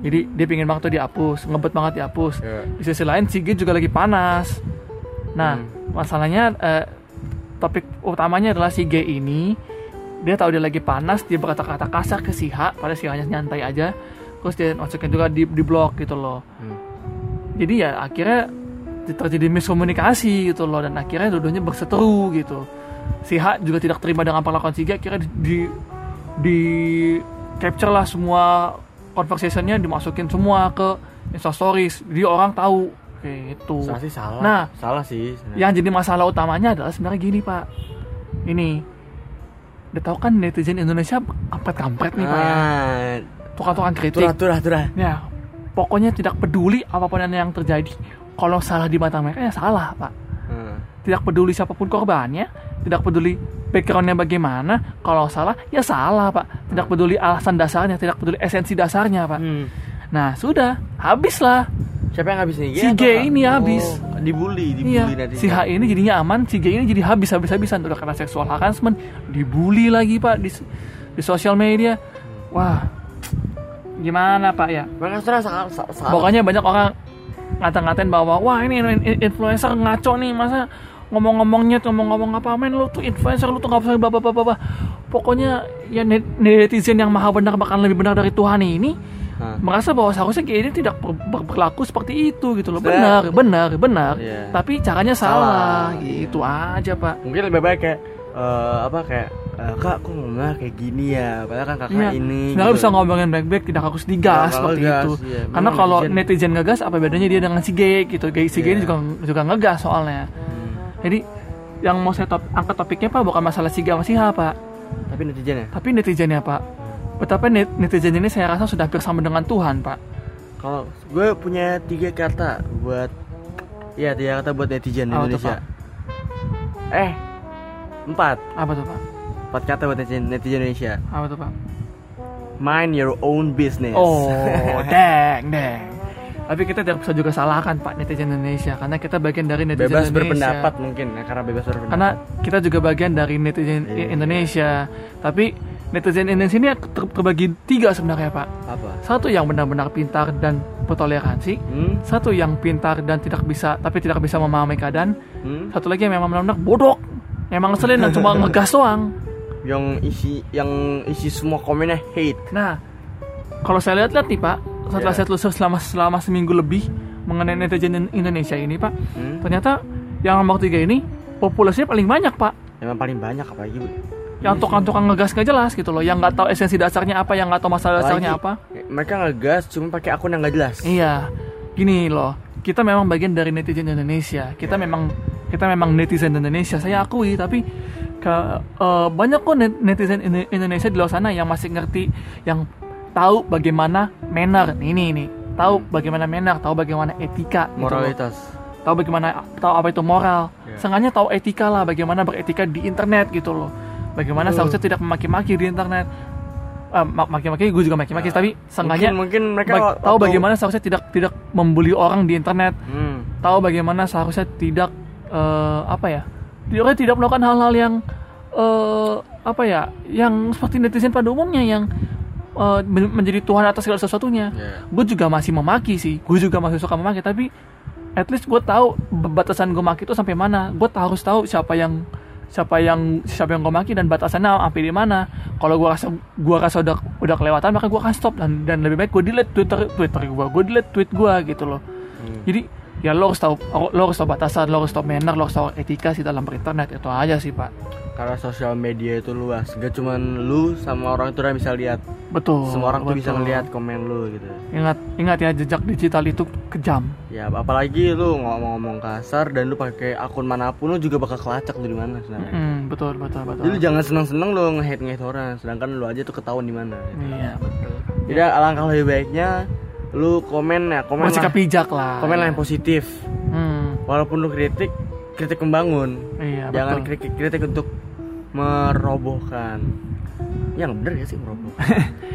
Speaker 1: jadi dia pingin banget tuh dihapus ngebet banget dihapus
Speaker 2: Ya.
Speaker 1: di sisi lain si G juga lagi panas nah masalahnya eh, topik utamanya adalah si G ini dia tahu dia lagi panas dia berkata-kata kasar ke si H pada si H-nya nyantai aja terus dia masukin juga di di blog gitu loh
Speaker 2: Hmm.
Speaker 1: jadi ya akhirnya terjadi miskomunikasi gitu loh dan akhirnya dua-duanya berseteru gitu si H juga tidak terima dengan perlakuan si G akhirnya di, di, di capture lah semua conversationnya dimasukin semua ke instastories jadi orang tahu kayak gitu
Speaker 2: salah sih salah
Speaker 1: Nah.
Speaker 2: salah sih
Speaker 1: yang jadi masalah utamanya adalah sebenarnya gini pak ini udah tahu kan netizen Indonesia kampret kampret nih pak ya
Speaker 2: ah,
Speaker 1: tukang-tukang kritik
Speaker 2: turah turah turah
Speaker 1: ya pokoknya tidak peduli apapun yang terjadi kalau salah di mata mereka ya salah pak
Speaker 2: Hmm.
Speaker 1: tidak peduli siapapun korbannya, tidak peduli backgroundnya bagaimana, kalau salah ya salah pak, tidak peduli alasan dasarnya, tidak peduli esensi dasarnya pak.
Speaker 2: Hmm.
Speaker 1: Nah sudah, habislah.
Speaker 2: siapa yang habis nih
Speaker 1: Si G ini habis.
Speaker 2: oh, dibully dibully
Speaker 1: Iya,
Speaker 2: nanti
Speaker 1: si H ini jadinya aman, si G ini jadi habis habis habisan udah karena seksual harassment, dibully lagi pak di di sosial media. Wah, gimana pak ya?
Speaker 2: mereka salah salah salah salah.
Speaker 1: Pokoknya banyak orang ngata-ngatain bahwa wah ini in- in- influencer ngaco nih masa ngomong-ngomongnya ngomong-ngomong apa men lu tuh influencer lu tuh nggak bisa bapak bapak bapak pokoknya ya net- netizen yang maha benar bahkan lebih benar dari Tuhan ini
Speaker 2: Hah.
Speaker 1: merasa bahwa seharusnya kayak ini tidak ber- ber- berlaku seperti itu gitu loh
Speaker 2: Saya-
Speaker 1: benar benar benar
Speaker 2: Iya.
Speaker 1: tapi caranya salah,
Speaker 2: Salah, Iya.
Speaker 1: gitu aja pak
Speaker 2: mungkin lebih baik kayak eh, apa kayak eh, kak kok ngomongnya kayak gini ya padahal kan kakak
Speaker 1: Iya.
Speaker 2: ini
Speaker 1: Sebenarnya
Speaker 2: gitu.
Speaker 1: bisa ngomongin baik-baik tidak harus digas
Speaker 2: Nggak
Speaker 1: seperti
Speaker 2: ngegas,
Speaker 1: itu.
Speaker 2: iya. Memang
Speaker 1: Karena kalau
Speaker 2: netizen-
Speaker 1: netizen ngegas apa bedanya dia dengan si G gitu. Kayak si G ini
Speaker 2: Iya.
Speaker 1: juga juga ngegas soalnya.
Speaker 2: Hmm.
Speaker 1: Jadi yang mau saya top- angkat topiknya Pak bukan masalah si G sama si H Pak,
Speaker 2: tapi netizen ya
Speaker 1: tapi netizennya Pak. Betapa net- netizen ini saya rasa sudah hampir sama dengan Tuhan Pak.
Speaker 2: kalau gue punya tiga kata buat ya tiga kata buat netizen
Speaker 1: Apa tuh,
Speaker 2: Indonesia
Speaker 1: Pak?
Speaker 2: eh empat
Speaker 1: Apa tuh Pak?
Speaker 2: empat kata buat netizen, netizen Indonesia
Speaker 1: Apa tuh Pak?
Speaker 2: mind your own business
Speaker 1: Oh, deng deng. Tapi kita tidak bisa juga salahkan Pak netizen Indonesia karena kita bagian dari netizen
Speaker 2: bebas
Speaker 1: Indonesia.
Speaker 2: berpendapat mungkin ya, karena bebas berpendapat
Speaker 1: karena kita juga bagian dari netizen
Speaker 2: Iya.
Speaker 1: Indonesia tapi netizen Indonesia ini ter- terbagi tiga sebenarnya pak
Speaker 2: apa
Speaker 1: satu yang benar-benar pintar dan bertoleransi
Speaker 2: hmm?
Speaker 1: satu yang pintar dan tidak bisa tapi tidak bisa memahami keadaan
Speaker 2: Hmm?
Speaker 1: satu lagi yang memang benar-benar bodoh memang ngeselin dan cuma ngegas doang
Speaker 2: yang isi yang isi semua komennya hate
Speaker 1: nah kalau saya lihat-lihat nih pak setelah
Speaker 2: Iya.
Speaker 1: saya telusur selama selama seminggu lebih mengenai netizen Indonesia ini pak
Speaker 2: Hmm?
Speaker 1: ternyata yang nomor tiga ini populasinya paling banyak pak
Speaker 2: emang paling banyak apalagi Bu? Iya
Speaker 1: yang tukang-tukang ngegas nggak jelas gitu loh yang nggak tahu esensi dasarnya apa yang nggak tahu masalah dasarnya
Speaker 2: Apalagi,
Speaker 1: apa
Speaker 2: eh, mereka ngegas cuma pakai akun yang gak jelas
Speaker 1: iya gini loh kita memang bagian dari netizen Indonesia kita
Speaker 2: Iya.
Speaker 1: memang kita memang netizen Indonesia saya akui tapi ke- eh, banyak kok net- netizen Indo- Indonesia di luar sana yang masih ngerti yang tahu bagaimana manner Nih, ini ini
Speaker 2: Hmm.
Speaker 1: tahu bagaimana manner tahu bagaimana etika gitu loh.
Speaker 2: moralitas
Speaker 1: tahu bagaimana tahu apa itu moral
Speaker 2: Iya.
Speaker 1: sengaja tahu etika lah bagaimana beretika di internet gitu loh bagaimana
Speaker 2: Betul.
Speaker 1: seharusnya tidak memaki-maki di internet Eh, ma- maki-maki gue juga maki-maki
Speaker 2: Ya.
Speaker 1: tapi sengaja
Speaker 2: mungkin, mungkin mereka
Speaker 1: ba- tahu
Speaker 2: waktu-
Speaker 1: bagaimana seharusnya tidak tidak membuli orang di internet
Speaker 2: hmm.
Speaker 1: tahu bagaimana seharusnya tidak eh, apa ya tidak tidak melakukan hal-hal yang eh, apa ya yang seperti netizen pada umumnya yang eh, men- menjadi tuhan atas segala sesuatunya
Speaker 2: Iya.
Speaker 1: gue juga masih memaki sih gue juga masih suka memaki tapi at least gue tahu batasan gue maki itu sampai mana gue tahu- harus tahu siapa yang siapa yang siapa yang gue maki dan batasannya sampai di mana kalau gue rasa gue rasa udah udah kelewatan maka gue akan stop dan dan lebih baik gue delete twitter twitter gue gue delete tweet gue gitu loh jadi ya lo harus tahu lo harus tahu batasan lo harus tahu manner lo harus tahu etika sih dalam berinternet itu aja sih pak
Speaker 2: karena sosial media itu luas gak cuman lu sama orang itu yang bisa lihat
Speaker 1: betul
Speaker 2: semua orang tuh bisa
Speaker 1: Oh, betul.
Speaker 2: ngeliat komen lu gitu
Speaker 1: ingat ingat ya jejak digital itu kejam
Speaker 2: ya apalagi lu ngomong-ngomong kasar dan lu pakai akun manapun lu juga bakal kelacak lu di mana sebenarnya
Speaker 1: Mm, betul betul betul
Speaker 2: Nah. jadi lu jangan seneng-seneng lu nge-hate nge orang sedangkan lu aja tuh ketahuan di mana gitu.
Speaker 1: iya betul
Speaker 2: Jadi alangkah lebih baiknya lu komen ya, komen
Speaker 1: masih
Speaker 2: lah,
Speaker 1: kepijak lah
Speaker 2: komen lah yang positif.
Speaker 1: Hmm,
Speaker 2: Walaupun lu kritik, kritik membangun.
Speaker 1: iya
Speaker 2: Jangan
Speaker 1: betul.
Speaker 2: kritik kritik untuk merobohkan. Yang bener ya sih meroboh.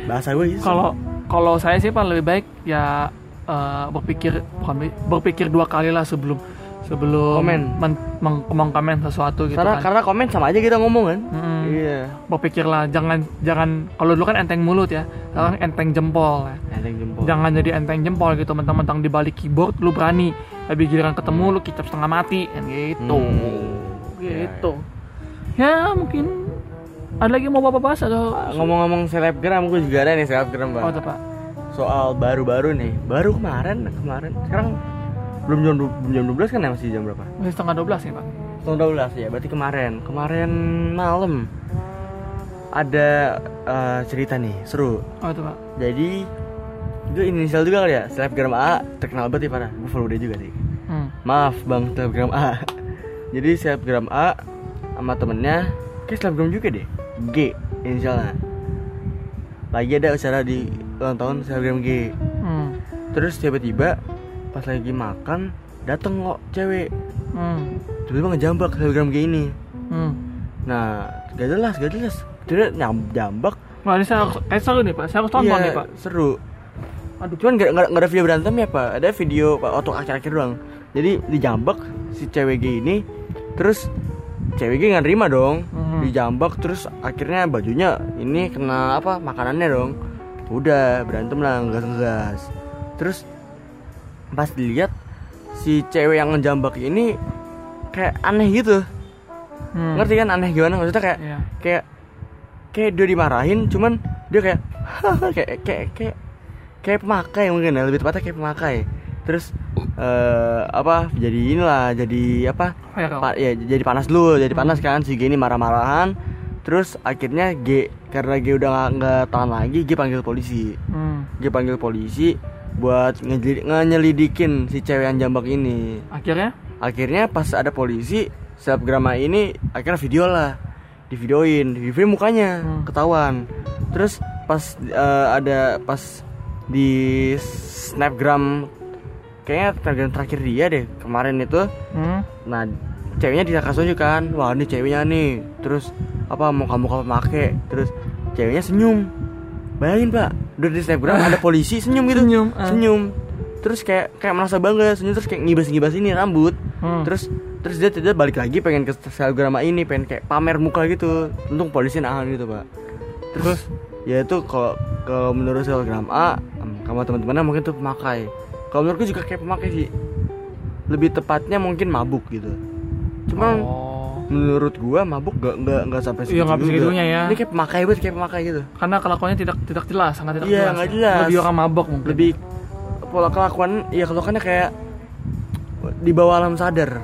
Speaker 2: Bahasa gue gitu sih.
Speaker 1: kalau kalau saya sih pak lebih baik ya eh, berpikir bukan bi- berpikir dua kali lah sebelum sebelum
Speaker 2: Komen.
Speaker 1: men- meng- mengkomen sesuatu gitu
Speaker 2: karena
Speaker 1: kan
Speaker 2: karena komen sama aja kita ngomong kan.
Speaker 1: Mm,
Speaker 2: Iya.
Speaker 1: berpikirlah jangan jangan kalau dulu kan enteng mulut ya sekarang enteng jempol ya.
Speaker 2: Enteng jempol.
Speaker 1: jangan jadi enteng jempol gitu mentang-mentang di balik keyboard lu berani tapi giliran ketemu lu kicap setengah mati kan gitu
Speaker 2: Hmm.
Speaker 1: gitu ya mungkin ada lagi mau bapak bahas atau
Speaker 2: Ya. Ngomong-ngomong selebgram, gue juga ada nih selebgram
Speaker 1: apa
Speaker 2: bang.
Speaker 1: Oh, tuh pak
Speaker 2: Soal baru-baru nih, baru kemarin kemarin. Sekarang belum jam du- belum jam 12 kan ya masih jam berapa?
Speaker 1: masih setengah 12 ya pak
Speaker 2: Tahun 12 ya, berarti kemarin. Kemarin malam ada eh, cerita nih, seru.
Speaker 1: apa tuh Oh, pak
Speaker 2: Jadi itu inisial juga kali ya selebgram A terkenal banget ya parah gue follow dia juga sih
Speaker 1: Hmm.
Speaker 2: maaf bang selebgram A jadi selebgram A sama temennya kayak selebgram juga deh G inisialnya lagi ada acara di ulang tahun selebgram G
Speaker 1: Hmm.
Speaker 2: terus tiba-tiba pas lagi makan dateng kok cewek
Speaker 1: Hmm.
Speaker 2: tiba-tiba ngejambak selebgram G ini
Speaker 1: Hmm.
Speaker 2: nah gak jelas gak jelas dia nyam- jambak
Speaker 1: Wah, ini saya harus, eh, seru nih Pak, saya harus tonton
Speaker 2: Iya,
Speaker 1: nih Pak
Speaker 2: seru
Speaker 1: Aduh,
Speaker 2: cuman gak, gak, gak ada video berantem ya pak ada video pak waktu akhir-akhir doang jadi dijambak si cewek G ini terus cewek G nggak nerima dong
Speaker 1: Mhm.
Speaker 2: dijambak terus akhirnya bajunya ini kena apa makanannya dong udah berantem lah ngegas ngegas terus pas dilihat si cewek yang ngejambak ini kayak aneh gitu
Speaker 1: Hmm.
Speaker 2: ngerti kan aneh gimana maksudnya kayak
Speaker 1: Iya.
Speaker 2: kayak kayak dia dimarahin cuman dia kayak kayak kayak kayak kayak pemakai mungkin ya lebih tepatnya kayak pemakai terus eh apa jadi inilah jadi apa
Speaker 1: Ayo, Kak.
Speaker 2: pa- ya jadi panas dulu jadi panas kan si G ini marah-marahan terus akhirnya G karena G udah nggak- nggak tahan lagi G panggil polisi
Speaker 1: Hmm.
Speaker 2: G panggil polisi buat ngejeli- ngenyelidikin si cewek yang jambak ini
Speaker 1: Akhirnya?
Speaker 2: akhirnya pas ada polisi selebgram ini akhirnya video lah di videoin di video mukanya
Speaker 1: Hmm.
Speaker 2: ketahuan terus pas eh, ada pas di snapgram kayaknya snapgram terakhir dia deh kemarin itu
Speaker 1: Hmm.
Speaker 2: nah ceweknya dikasih kan wah ini ceweknya nih terus apa mau kamu kamu pakai terus ceweknya senyum bayangin pak udah di snapgram ada polisi senyum gitu
Speaker 1: Senyum, ah.
Speaker 2: senyum terus kayak kayak merasa bangga senyum terus kayak ngibas ngibas ini rambut
Speaker 1: Hmm.
Speaker 2: terus terus dia tidak balik lagi pengen ke selebgram ini pengen kayak pamer muka gitu untung polisi nahan gitu pak terus, ya itu kalau kalau menurut selebgram A em, kamu teman-temannya mungkin tuh pemakai kalau menurutku juga kayak pemakai sih lebih tepatnya mungkin mabuk gitu cuman
Speaker 1: Oh.
Speaker 2: menurut gua mabuk gak nggak nggak sampai
Speaker 1: Iya, nggak
Speaker 2: juga.
Speaker 1: segitunya ya.
Speaker 2: ini kayak pemakai banget kayak pemakai gitu
Speaker 1: Karena kelakuannya tidak tidak jelas, sangat tidak
Speaker 2: Iya,
Speaker 1: jelas.
Speaker 2: nggak
Speaker 1: ya.
Speaker 2: jelas.
Speaker 1: Lebih orang mabok mungkin.
Speaker 2: lebih pola kelakuan ya kelakuannya kayak di bawah alam sadar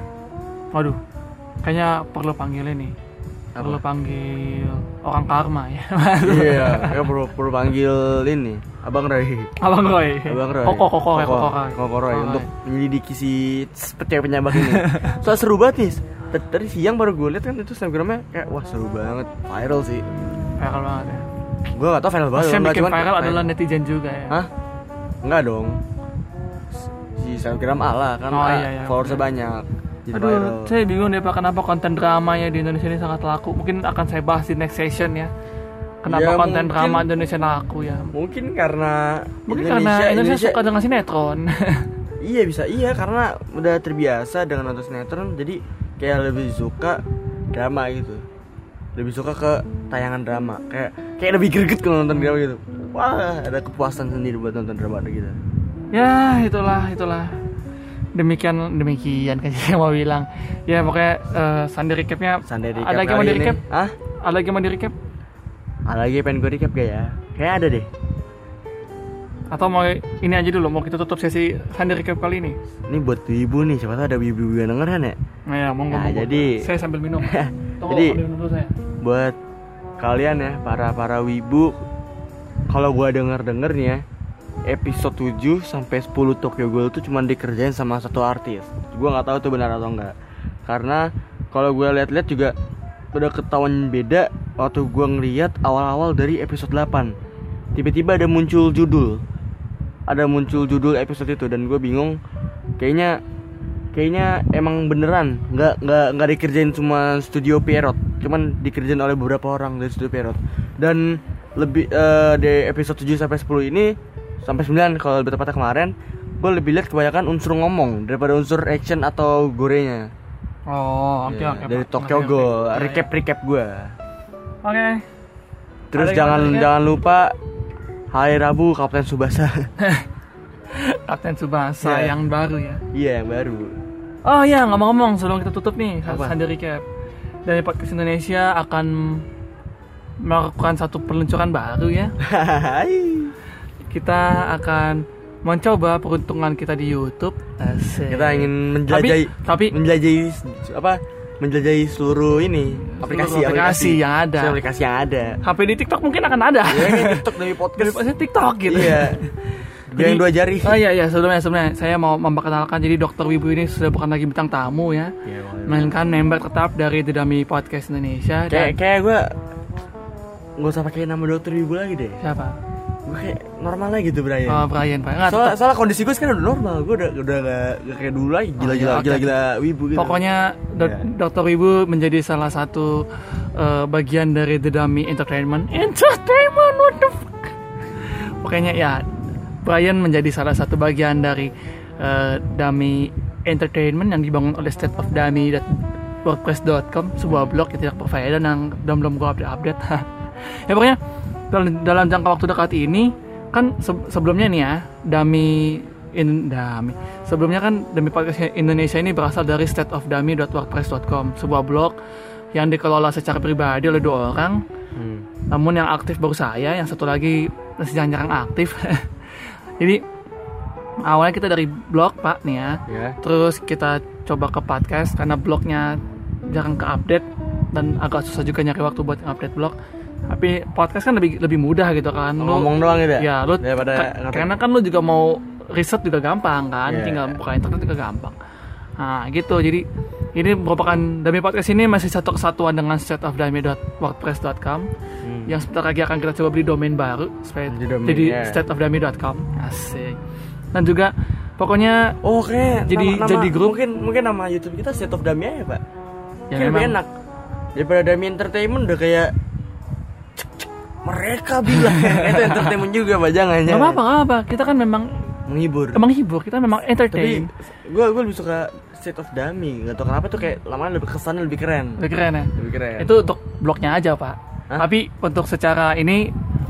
Speaker 1: Waduh. Kayaknya perlu panggilin nih.
Speaker 2: Apa?
Speaker 1: Perlu panggil orang karma ya.
Speaker 2: iya ya perlu perlu panggil ini abang Ray
Speaker 1: Abang Roy.
Speaker 2: abang Roy
Speaker 1: Koko koko ya koko. Roy.
Speaker 2: Koko Roy
Speaker 1: Koko
Speaker 2: untuk menyelidiki si percaya penyambak ini soal seru banget nih T- tadi siang baru gue liat kan itu snapgramnya kayak wah seru banget viral sih
Speaker 1: viral banget ya.
Speaker 2: gue gak tau viral banget
Speaker 1: Terus yang
Speaker 2: enggak,
Speaker 1: bikin
Speaker 2: cuman
Speaker 1: viral
Speaker 2: kayak-
Speaker 1: adalah netizen juga ya.
Speaker 2: hah enggak dong si snapgram ala kan
Speaker 1: Oh,
Speaker 2: A,
Speaker 1: iya, iya,
Speaker 2: followersnya banyak jadi
Speaker 1: Aduh,
Speaker 2: viral
Speaker 1: saya bingung deh Pak kenapa konten dramanya di Indonesia ini sangat laku. Mungkin akan saya bahas di next session ya. Kenapa
Speaker 2: Ya,
Speaker 1: konten
Speaker 2: mungkin-
Speaker 1: drama Indonesia laku ya?
Speaker 2: mungkin karena
Speaker 1: Mungkin karena Indonesia, suka dengan sinetron.
Speaker 2: Iya bisa, iya karena udah terbiasa dengan nonton sinetron jadi kayak lebih suka drama gitu. Lebih suka ke tayangan drama, kayak kayak lebih greget kalau nonton drama gitu. Wah, ada kepuasan sendiri buat nonton drama gitu.
Speaker 1: ya, itulah, itulah. Demikian demikian kan saya mau bilang. Ya, pokoknya eh Sunday recapnya
Speaker 2: Sunday recap
Speaker 1: ada lagi
Speaker 2: kali
Speaker 1: mau di
Speaker 2: ini.
Speaker 1: recap?
Speaker 2: Hah?
Speaker 1: Ada lagi mau di recap?
Speaker 2: Ada lagi pengen gue recap gak ya? Kayak ada deh.
Speaker 1: Atau mau ini aja dulu, mau kita tutup sesi Sunday recap kali ini?
Speaker 2: Ini buat ibu nih, siapa tahu ada ibu-ibu yang dengerin ya.
Speaker 1: Nah, ya, monggo,
Speaker 2: Nah,
Speaker 1: monggo.
Speaker 2: jadi-
Speaker 1: saya sambil minum. Tunggu,
Speaker 2: Jadi-
Speaker 1: ambil minum dulu saya.
Speaker 2: buat kalian ya para para wibu kalau gua denger denger nih ya episode 7 sampai 10 Tokyo Ghoul tuh cuman dikerjain sama satu artis gua nggak tahu itu benar atau enggak karena kalau gua lihat-lihat juga udah ketahuan beda waktu gua ngeliat awal-awal dari episode 8 tiba-tiba ada muncul judul ada muncul judul episode itu dan gue bingung kayaknya kayaknya emang beneran nggak nggak nggak dikerjain cuma studio Pierrot cuman dikerjain oleh beberapa orang dari studio Pierrot dan lebih eh, di episode 7 sampai 10 ini sampai 9 kalau lebih tepatnya kemarin gue lebih lihat kebanyakan unsur ngomong daripada unsur action atau gorenya
Speaker 1: Oh, oke
Speaker 2: Ya,
Speaker 1: oke.
Speaker 2: dari
Speaker 1: Pak.
Speaker 2: Tokyo
Speaker 1: Ngerti,
Speaker 2: Ghoul
Speaker 1: ngerti. Ya, ya.
Speaker 2: recap recap gue
Speaker 1: Oke.
Speaker 2: terus
Speaker 1: Ada yang kan?
Speaker 2: jangan
Speaker 1: lanjutnya?
Speaker 2: jangan lupa hari Rabu Kapten Subasa
Speaker 1: Kapten Subasa
Speaker 2: Iya.
Speaker 1: yang baru ya.
Speaker 2: iya yang baru
Speaker 1: Oh ya, ngomong-ngomong sebelum kita tutup nih,
Speaker 2: Apa?
Speaker 1: Sunday recap. Dari podcast Indonesia akan melakukan satu peluncuran baru ya.
Speaker 2: Hai.
Speaker 1: Kita akan mencoba peruntungan kita di YouTube. Asik.
Speaker 2: kita ingin menjelajahi
Speaker 1: tapi
Speaker 2: menjelajahi s- apa menjelajahi seluruh ini aplikasi
Speaker 1: aplikasi yang ada.
Speaker 2: Seluruh aplikasi yang ada
Speaker 1: HP di TikTok mungkin akan ada.
Speaker 2: ya kan, TikTok dari
Speaker 1: Dari
Speaker 2: podcast
Speaker 1: podcastnya TikTok gitu.
Speaker 2: iya Dia yang dua jari.
Speaker 1: Oh iya iya sebelumnya sebelumnya saya mau memperkenalkan jadi Dokter Wibu ini sudah bukan lagi bintang tamu ya,
Speaker 2: Iya, boleh.
Speaker 1: melainkan member tetap dari The Dummy Podcast Indonesia.
Speaker 2: Kayak
Speaker 1: Dan
Speaker 2: kayak gue nggak usah pakai nama dokter ibu lagi deh.
Speaker 1: siapa?
Speaker 2: Gue kayak normal lagi gitu Brian.
Speaker 1: Oh, Brian Pak. Nggak,
Speaker 2: soalnya,
Speaker 1: tetap-
Speaker 2: soalnya kondisi gue sekarang udah normal. Gue udah udah gak, kayak dulu lagi. Gila gila
Speaker 1: iya, oke.
Speaker 2: gila gila wibu gitu.
Speaker 1: pokoknya
Speaker 2: Iya.
Speaker 1: Dokter Wibu menjadi salah satu eh, bagian dari The Dummy Entertainment. Entertainment what the fuck? Pokoknya ya Brian menjadi salah satu bagian dari eh, Dummy Entertainment yang dibangun oleh State of Dummy WordPress.com sebuah blog yang tidak berfaedah yang belum belum gue update update ya pokoknya dalam, dalam jangka waktu dekat ini kan se- sebelumnya nih ya Dummy in Dummy sebelumnya kan Dummy Podcast Indonesia ini berasal dari stateofdummy.wordpress.com sebuah blog yang dikelola secara pribadi oleh dua orang
Speaker 2: Hmm.
Speaker 1: namun yang aktif baru saya, yang satu lagi masih jarang-jarang aktif. Jadi awalnya kita dari blog pak nih ya,
Speaker 2: Ya.
Speaker 1: terus kita coba ke podcast karena blognya jarang ke update dan agak susah juga nyari waktu buat update blog. Tapi podcast kan lebih lebih mudah gitu kan. Lu-
Speaker 2: Ngomong doang gitu.
Speaker 1: Ya, lu
Speaker 2: daripada
Speaker 1: ka-
Speaker 2: ngerti.
Speaker 1: karena kan lu juga mau riset juga gampang kan,
Speaker 2: Iya.
Speaker 1: tinggal buka internet juga gampang. Nah, gitu. Jadi ini merupakan Dami Podcast ini masih satu kesatuan dengan stateofdami.wordpress.com
Speaker 2: Hmm.
Speaker 1: yang sebentar lagi akan kita coba beli domain baru supaya
Speaker 2: Jadi domain,
Speaker 1: jadi
Speaker 2: iya.
Speaker 1: stateofdami.com. Asik. Dan juga pokoknya
Speaker 2: Oke,
Speaker 1: Jadi-
Speaker 2: Oh, nama,
Speaker 1: jadi
Speaker 2: nama-
Speaker 1: grup.
Speaker 2: mungkin mungkin nama YouTube kita State of Damia ya, Pak.
Speaker 1: ya
Speaker 2: Kayak lebih
Speaker 1: memang
Speaker 2: enak. Daripada Dami Entertainment udah kayak cek, cek, mereka bilang itu entertainment juga, Pak. Jangan
Speaker 1: nggak
Speaker 2: jangan.
Speaker 1: apa-apa, nggak apa-apa. Kita kan memang
Speaker 2: Menghibur.
Speaker 1: emang hibur, kita memang
Speaker 2: Tapi
Speaker 1: entertain.
Speaker 2: gue gue lebih suka State of Dami. Gak tau kenapa tuh kayak lama lebih kesannya lebih keren.
Speaker 1: Lebih keren ya.
Speaker 2: Lebih keren.
Speaker 1: Itu untuk blognya aja pak.
Speaker 2: Iya. Hah?
Speaker 1: Tapi untuk secara ini,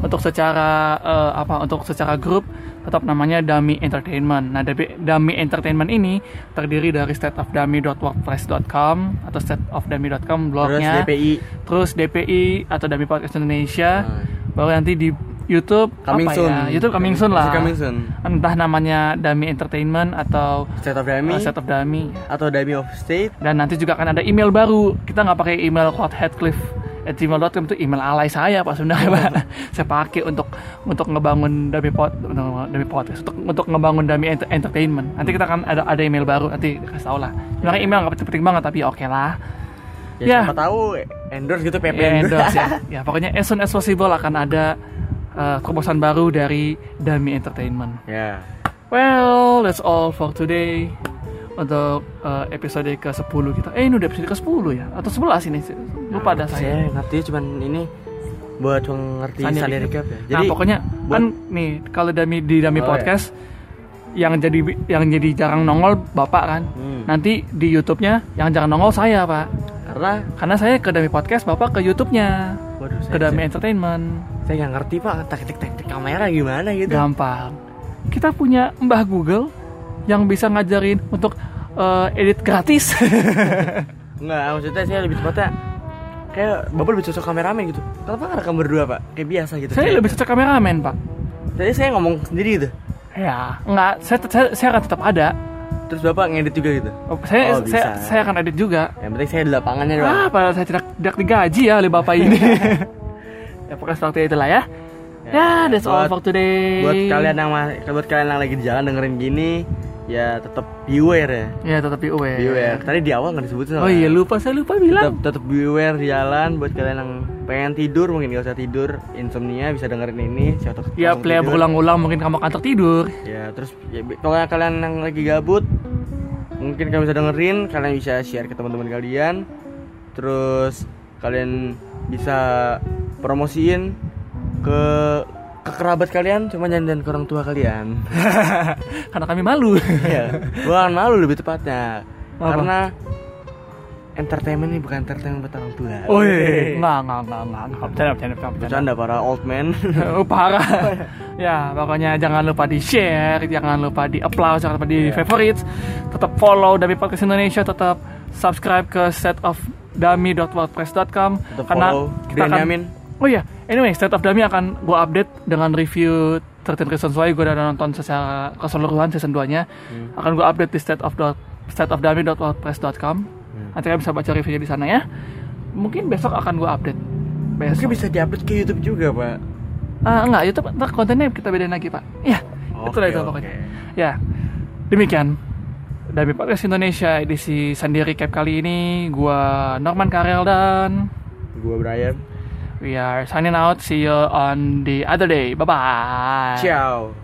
Speaker 1: untuk secara eh, apa? Untuk secara grup tetap namanya Dummy Entertainment. Nah, Dummy- Dummy Entertainment ini terdiri dari stateofdummy.wordpress.com atau stateofdummy.com
Speaker 2: Terus
Speaker 1: blognya,
Speaker 2: DPI
Speaker 1: terus DPI atau Dummy Podcast Indonesia,
Speaker 2: Hmm.
Speaker 1: baru nanti di YouTube
Speaker 2: coming
Speaker 1: apa
Speaker 2: soon.
Speaker 1: ya? YouTube coming soon lah.
Speaker 2: Masih Coming soon.
Speaker 1: Entah namanya Dummy Entertainment atau
Speaker 2: State of
Speaker 1: eh,
Speaker 2: Dami
Speaker 1: Set of Dummy
Speaker 2: atau Dami of State.
Speaker 1: dan nanti juga akan ada email baru kita nggak pakai email Cloud at gmail.com itu email alay saya pak sebenarnya pak saya pakai untuk untuk ngebangun dami pot dami podcast untuk untuk ngebangun dami ent- entertainment nanti kita akan ada ada email baru nanti kasih tau lah sebenarnya email nggak penting banget tapi oke lah
Speaker 2: Ya,
Speaker 1: Ya.
Speaker 2: siapa tahu endorse gitu PP
Speaker 1: Ya, endorse ya. ya pokoknya as soon as possible akan ada uh, terobosan baru dari dami entertainment
Speaker 2: ya.
Speaker 1: Well, that's all for today untuk uh, episode ke-10 kita. Eh, ini udah episode ke-10 ya? Atau 11 ini? Lupa dah
Speaker 2: Nah,
Speaker 1: saya.
Speaker 2: ngerti cuman ini buat mengerti
Speaker 1: Sunday
Speaker 2: Sunday
Speaker 1: recap.
Speaker 2: recap ya.
Speaker 1: nah, pokoknya kan nih kalau dami di Dami
Speaker 2: Oh,
Speaker 1: Podcast yang jadi yang jadi jarang nongol Bapak kan.
Speaker 2: Hmm.
Speaker 1: Nanti di YouTube-nya yang jarang nongol saya, Pak.
Speaker 2: karena
Speaker 1: Karena saya ke Dami Podcast, Bapak ke YouTube-nya.
Speaker 2: waduh saya,
Speaker 1: Ke Dami
Speaker 2: saya,
Speaker 1: Entertainment.
Speaker 2: saya nggak ngerti Pak taktik-taktik kamera gimana gitu.
Speaker 1: Gampang. Kita punya Mbah Google yang bisa ngajarin untuk uh, edit gratis.
Speaker 2: Enggak, maksudnya saya lebih tepatnya kayak Bapak lebih cocok kameramen gitu. Kenapa nggak rekam berdua, Pak? Kayak biasa gitu.
Speaker 1: Saya
Speaker 2: Kayak-
Speaker 1: lebih cocok kameramen, Pak.
Speaker 2: Tadi saya ngomong sendiri gitu.
Speaker 1: Ya, enggak, saya, saya, saya akan tetap ada.
Speaker 2: Terus Bapak ngedit juga gitu.
Speaker 1: Saya,
Speaker 2: Oh, bisa.
Speaker 1: saya, saya akan edit juga.
Speaker 2: Yang penting saya di lapangannya, Pak.
Speaker 1: Ah, padahal saya tidak, tidak digaji ya oleh bapak ini. ya, pokoknya seperti itulah ya. Ya, that's all
Speaker 2: buat-
Speaker 1: for today.
Speaker 2: Buat kalian yang ma- buat kalian yang lagi di jalan dengerin gini, ya tetap beware ya.
Speaker 1: Ya, tetap beware.
Speaker 2: Beware. Tadi di awal nggak disebutin.
Speaker 1: Oh iya, lupa saya lupa
Speaker 2: tetap
Speaker 1: bilang.
Speaker 2: tetap beware di jalan buat kalian yang pengen tidur mungkin nggak usah tidur insomnia bisa dengerin ini siapa tahu
Speaker 1: Ya,
Speaker 2: langsung
Speaker 1: play
Speaker 2: tidur.
Speaker 1: berulang-ulang mungkin kamu akan tertidur.
Speaker 2: ya terus ya, be- pokoknya kalian yang lagi gabut mungkin kalian bisa dengerin kalian bisa share ke teman-teman kalian terus kalian bisa promosiin ke ke kerabat kalian cuma jangan jangan ke orang tua kalian
Speaker 1: Karena kami malu.
Speaker 2: ya bukan malu lebih tepatnya
Speaker 1: Apa?
Speaker 2: karena entertainment ini bukan entertainment buat orang tua
Speaker 1: Oh iya, enggak, enggak, enggak, enggak. enggak. Bercanda, bercanda, bercanda. bercanda.
Speaker 2: bercanda para old man
Speaker 1: oh, parah. ya, pokoknya jangan lupa di-share, jangan lupa di-applause, jangan lupa
Speaker 2: Iya.
Speaker 1: di-favorites. Tetap follow Dami Podcast Indonesia, tetap subscribe ke set of
Speaker 2: Tetap
Speaker 1: karena
Speaker 2: follow
Speaker 1: kita akan
Speaker 2: Benyamin.
Speaker 1: Oh iya, anyway, State of Dummy akan gue update dengan review 13 Reasons Why gue udah nonton secara keseluruhan season 2-nya.
Speaker 2: Hmm.
Speaker 1: Akan gue update di state of dot, stateofdummy.wordpress.com.
Speaker 2: Hmm.
Speaker 1: Nanti kalian bisa baca reviewnya di sana ya. Mungkin besok akan gue update. Besok.
Speaker 2: Mungkin bisa diupload ke YouTube juga, Pak.
Speaker 1: Eh, Ah, enggak, YouTube ntar kontennya kita bedain lagi, Pak. Iya, Itulah itu pokoknya. Ya, demikian. Dari Podcast Indonesia edisi Sendiri Cap kali ini, gua Norman Karel dan
Speaker 2: Gue Brian.
Speaker 1: we are signing out. See you on the other day. Bye-bye.
Speaker 2: Ciao.